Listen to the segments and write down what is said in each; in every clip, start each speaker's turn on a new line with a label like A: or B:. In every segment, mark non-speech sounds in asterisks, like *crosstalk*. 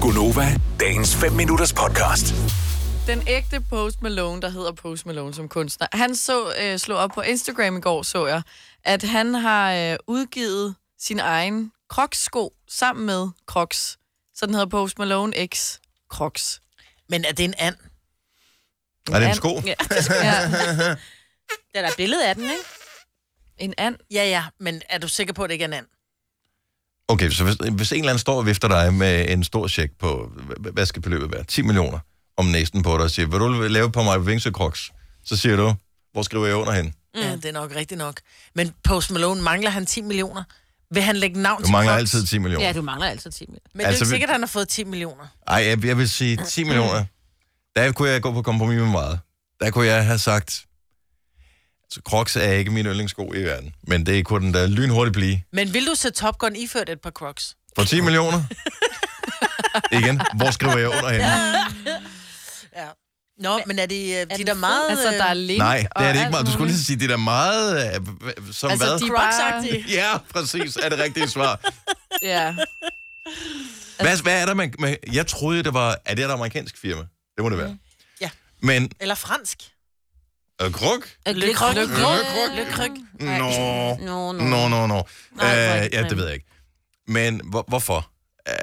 A: Gunova, dagens 5 minutters podcast.
B: den ægte Post Malone, der hedder Post Malone som kunstner, han så øh, slå op på Instagram i går, så jeg, at han har øh, udgivet sin egen Crocs-sko sammen med Crocs. Så den hedder Post Malone X Crocs.
C: Men er det en and?
D: Er det en
B: and.
D: sko?
C: Ja.
B: Ja,
C: Der er et billede af den, ikke?
B: en and.
C: Ja, ja, men er du sikker på, at det ikke er en and?
D: Okay, så hvis, hvis en eller anden står og vifter dig med en stor check på, hva- hvad skal beløbet være? 10 millioner om næsten på dig og siger, vil du lave på mig vingsøkroks? Så siger du, hvor skriver jeg under hen?
C: Mm. Ja, det er nok rigtigt nok. Men Post Malone, mangler han 10 millioner? Vil han lægge navn
D: Du mangler
C: Crocs?
D: altid 10 millioner.
E: Ja, du mangler altid 10 minutter.
C: Men altså, det er jo
D: Altså,
C: ikke
D: vi-
C: sikkert, at han har fået 10 millioner.
D: Ej, jeg, jeg vil sige 10 millioner. Der kunne jeg gå på kompromis med meget. Der kunne jeg have sagt, så Crocs er ikke min yndlingssko i verden, men det kunne den da lynhurtigt blive.
C: Men vil du se Top Gun iført et par Crocs?
D: For 10 millioner? Igen, hvor skriver jeg under henne?
C: Nå, men er det, øh, de
E: den
C: der
E: fed?
C: meget...
B: Altså, der er
C: øh,
B: link
D: Nej, det er
B: og
D: det ikke
B: alt
D: meget. Du skulle lige
B: muligt.
D: sige, det er da meget... øh, hva- hva- Som
B: Altså,
D: hvad?
B: de er bare...
C: Crocs-agtige.
D: *laughs* Ja, præcis, er det rigtige svar.
B: Ja. Altså-
D: Hvad, hvad er der, man, man... Jeg troede, det var... Er det et amerikansk firma? Det må det
B: Mm.
D: være.
C: Ja.
D: Men...
C: Eller fransk.
D: Øh, kruk?
C: Le Croc. Le Croc. Le Croc.
D: Nå,
E: Nå,
D: nå,
E: nå.
D: nå, nå. Øh,
E: Nej, hvor er det
D: Ja, det
E: grimt.
D: ved jeg ikke. Men hvor, hvorfor? Øh,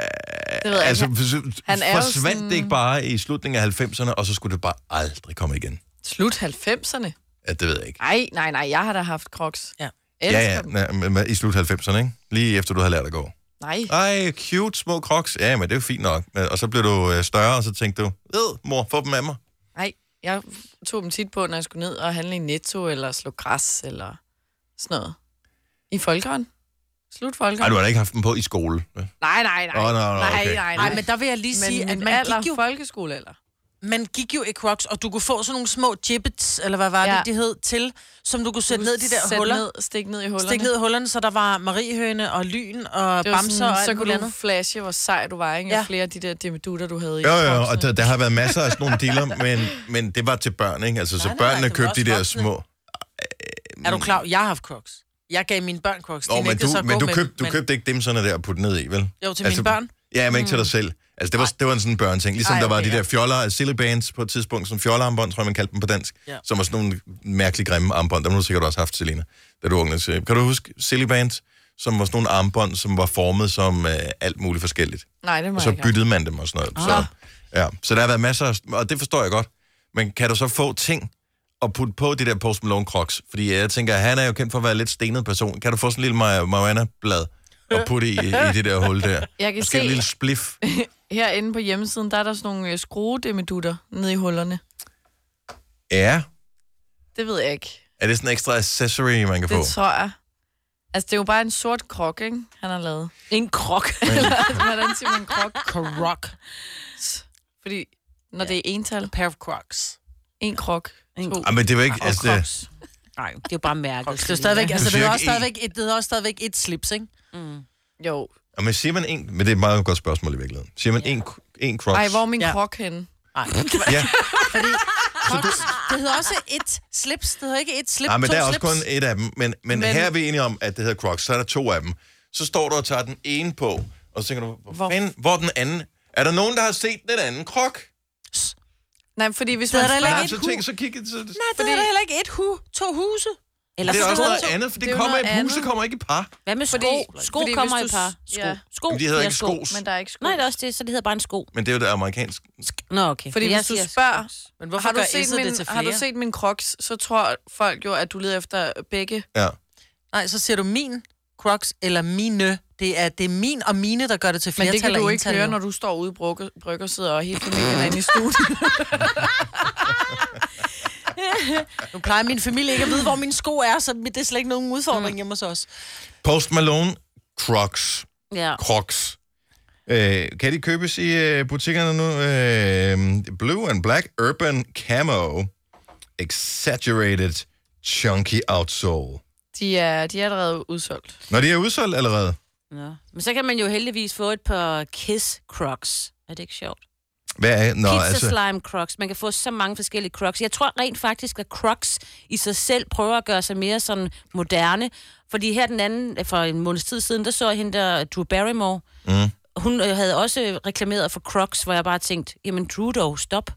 B: Det ved jeg
D: altså,
B: ikke.
D: hvis-
B: Han er jo
D: forsvandt
B: sådan-
D: det ikke bare i slutningen af 90'erne, og så skulle det bare aldrig komme igen?
B: Slut 90'erne.
D: Ja, det ved jeg ikke.
B: Nej, nej, nej, jeg har da haft Crocs.
C: Ja.
B: Elsker
D: Ja, ja,
B: dem.
D: nej, men- men i slut 90'erne, ikke? Lige efter du havde lært at gå.
B: Nej.
D: Ej, cute små crocs. Ja, men det er jo fint nok. Men- Og så blev du øh, større, og så tænkte du, ved, mor, få dem af mig.
B: Nej, jeg tog dem tit på, når jeg skulle ned og handle i Netto, eller slå græs, eller sådan noget. I folkeren. Slut
D: Nej,
B: folkeren.
D: du har da ikke haft dem på i skole.
B: Nej, nej, nej.
D: Åh, nå, nå, okay.
B: nej, nej,
C: Nej,
B: nej.
C: men der vil jeg lige sige,
B: men
C: at
B: min
C: man
B: alder,
C: gik, jo,
B: folkeskolealder.
C: man gik jo i Crocs, og du kunne få sådan nogle små gibbets, eller hvad var det,
B: Ja.
C: de hed, til, som du kunne
B: Du
C: sætte ned i de der
B: sæt
C: huller.
B: Ned, stik ned i hullerne.
C: Stik ned i hullerne, så der var mariehøne og lyn og
B: Det var
C: bamser
B: sådan,
C: og alt
B: så kunne
C: muligt
B: du
C: andet.
B: flashe, hvor sej du var, ikke? Ja.
C: Ja.
B: flere af de der dimidutter, du havde i.
D: Jo, jo,
B: boksene.
D: og der, der har været masser af sådan nogle dealer, men, men det var til børn, ikke? Altså, så
C: nej, nej,
D: børnene
C: det var
D: købte
C: også
D: de der
C: voksne.
D: små...
C: Er du klar? Jeg har haft Crocs. Jeg gav mine børn Crocs. De
D: Mm. Nå, men
C: nægtede så
D: du,
C: at
D: men
C: gå
D: du,
C: med
D: køb,
C: dem,
D: du købte ikke dem sådan der og putte ned i, vel? Altså,
C: Jo, til mine børn.
D: Ja, men ikke til dig selv. Altså, det var, det var en sådan børn ting. Ligesom
C: Ej,
D: der var
C: okay,
D: de
C: ja.
D: der fjoller, silly bands på et tidspunkt, som fjollerarmbånd, tror jeg, man kaldte dem på dansk,
C: Ja.
D: som var sådan nogle mærkelig grimme armbånd. Dem har du sikkert også haft, Selina, da du var ung. Så Kan du huske silly bands, som var sådan nogle armbånd, som var formet som øh, alt muligt forskelligt?
B: Nej, det må
D: Og
B: jeg
D: så
B: ikke. Ah.
D: byttede man dem og sådan noget. Så, ja. så der har været masser af... Og det forstår jeg godt. Men kan du så få ting at putte på de der Post Malone Crocs? Fordi jeg tænker, han er jo kendt for at være lidt stenet person. Kan du få sådan en lille Mar- Mariana-blad og putte i,
B: *laughs*
D: i det der hul der?
B: Jeg kan
D: Måske
B: se-
D: en lille spliff.
B: Herinde på hjemmesiden, der er der sådan nogle øh, skruedimidutter nede i hullerne.
D: Ja.
B: Det ved jeg ikke.
D: Er det sådan en ekstra accessory, man
B: Det
D: kan få?
B: tror jeg. Altså, det er jo bare en sort krok, ikke? Han har lavet.
E: En krok.
B: Hvordan siger man krok?
C: Croc.
B: Fordi når ja. det er ental,
C: Pair of Crocs.
B: en krok,
E: En
B: to.
D: Ej, men det var ikke...
E: Og
D: Altså, det,
E: Crocs. Nej, det er jo bare mærket.
C: Det er stadigvæk, altså,
D: Du
C: det
D: siger
C: er også
D: ikke en.
C: stadigvæk, et, det er også stadigvæk et slips, ikke?
B: Jo.
D: og ah, men siger man en... Men det er et meget godt spørgsmål i virkeligheden. Siger man en, en Crocs?
B: Ej, hvor er min ja.
C: Ja.
B: krok henne?
C: Nej.
B: *laughs*
D: Ja,
C: Crocs, det hedder også et slips. Det hedder ikke et slip,
D: Nej, Ah, men
C: to
D: der er også
C: slips.
D: kun et af dem. Men, men, men her er vi enige om, at det hedder Crocs. Så er der to af dem. Så står du og tager den ene på, og så tænker du, hvor, hvor? Fanden, hvor er den anden? Er der nogen, der har set den anden krok?
B: Nej, fordi hvis
C: Det
B: man...
C: er der heller
D: Nej,
C: ikke
D: så
C: et
D: tænk,
C: hus.
D: så kig... Så, det
C: Nej, det er der heller ikke et hu, to huse.
E: Eller
D: er
E: så
D: også
E: hedder
D: noget
E: det-
D: andet, for det,
B: det er jo
D: kommer i
B: noget
D: hus, det
B: andet.
D: kommer ikke i par.
E: Hvad med sko?
B: Fordi-
E: sko
B: fordi
E: kommer i
B: hvis du
E: par.
B: s-
E: Sko.
B: ja.
E: sko.
D: Men de hedder
E: Ja,
D: ikke
E: sko.
D: skos.
B: Men der er ikke sko.
E: Nej, det er også det, så det hedder bare en sko.
D: Men det er jo det amerikanske.
E: Nå, okay.
B: Fordi
E: Jeg
B: hvis du
E: siger
B: spørger,
E: sko.
C: Men hvorfor
B: har du,
C: gør
B: set
C: S'et
B: min,
C: det til flere?
B: har du set min crocs, så tror folk jo, at du leder efter begge.
D: Ja.
C: Nej, så siger du min Crocs eller mine. Det er, det er min og mine, der gør det til
B: Men
C: flere
B: det kan du ikke høre, når du står ude i brygge- bryggersidder og hele familien er inde i
C: *laughs*
B: studiet.
C: Nu plejer min familie ikke at vide, hvor mine sko er, så det er slet ikke nogen udfordring
D: Mm.
C: hjemme hos os.
D: Post Malone, Crocs.
E: Ja.
D: Crocs. Øh, kan de købes i øh, butikkerne nu? Øh, blue and Black Urban Camo. Exaggerated Chunky Outsole.
B: De er, de er allerede udsolgt.
D: Når de er udsolgt allerede.
E: Nå. Men så kan man jo heldigvis få et par Kiss Crocs. Er det ikke sjovt?
D: Hvad er, nå,
E: Pizza altså... slime crocs. Man kan få så mange forskellige crocs. Jeg tror rent faktisk, at crocs i sig selv prøver at gøre sig mere sådan moderne. Fordi her den anden, for en måneds tid siden, der så jeg hende der, Drew Barrymore. Mm. hun øh, havde også øh, reklameret for Crocs, hvor jeg bare tænkte, jamen Trudeau, stop.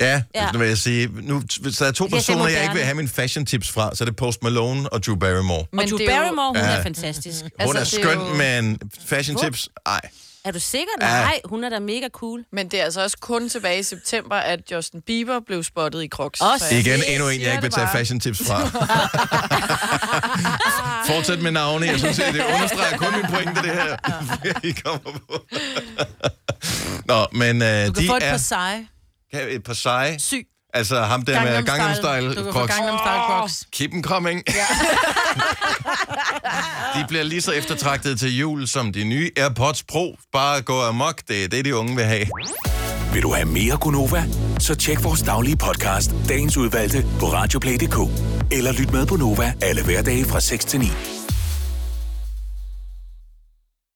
D: Ja,
E: Ja.
D: ja. Nu vil jeg sige, nu, hvis der er to
E: Jeg ser
D: personer, jeg ikke
E: moderne.
D: vil have mine fashion tips fra, så er det Post Malone og Drew Barrymore.
E: Men og Drew
B: det er jo-
E: Barrymore, hun
D: Ja.
E: er fantastisk.
D: Hun
B: Altså,
D: er
B: det er
D: skøn,
B: jo-
D: men fashion tips, ej.
E: Er du sikker?
D: Ja.
E: Nej, hun er da mega cool.
B: Men det er altså også kun tilbage i september, at Justin Bieber blev spottet i Crocs.
E: Også.
B: Så jeg-
D: Igen,
E: siger
D: endnu en, jeg ikke vil
B: det
D: tage
B: bare.
D: fashion tips
C: *laughs*
D: fra. Fortsæt med navne. Jeg synes, det understreger kun min pointe, det
C: *laughs*
D: her, I kommer på. Nå, men øh,
C: Du kan
D: de
C: få et par
D: er...
C: seje.
D: Kan- Et par seje.
C: Syg.
D: Altså ham der med Gangnam
C: Du
D: Style.
C: kan få
D: Crocs.
C: Gangnam Style Crocs.
D: Keep them coming. Ja. *laughs* de bliver lige så eftertragtede til jul som de nye AirPods Pro. Bare gå amok, det er det, de unge vil have.
A: Vil du have mere Gunova? Så tjek vores daglige podcast, dagens udvalgte, på radioplay.dk. Eller lyt med på Nova alle hverdage fra 6 til 9.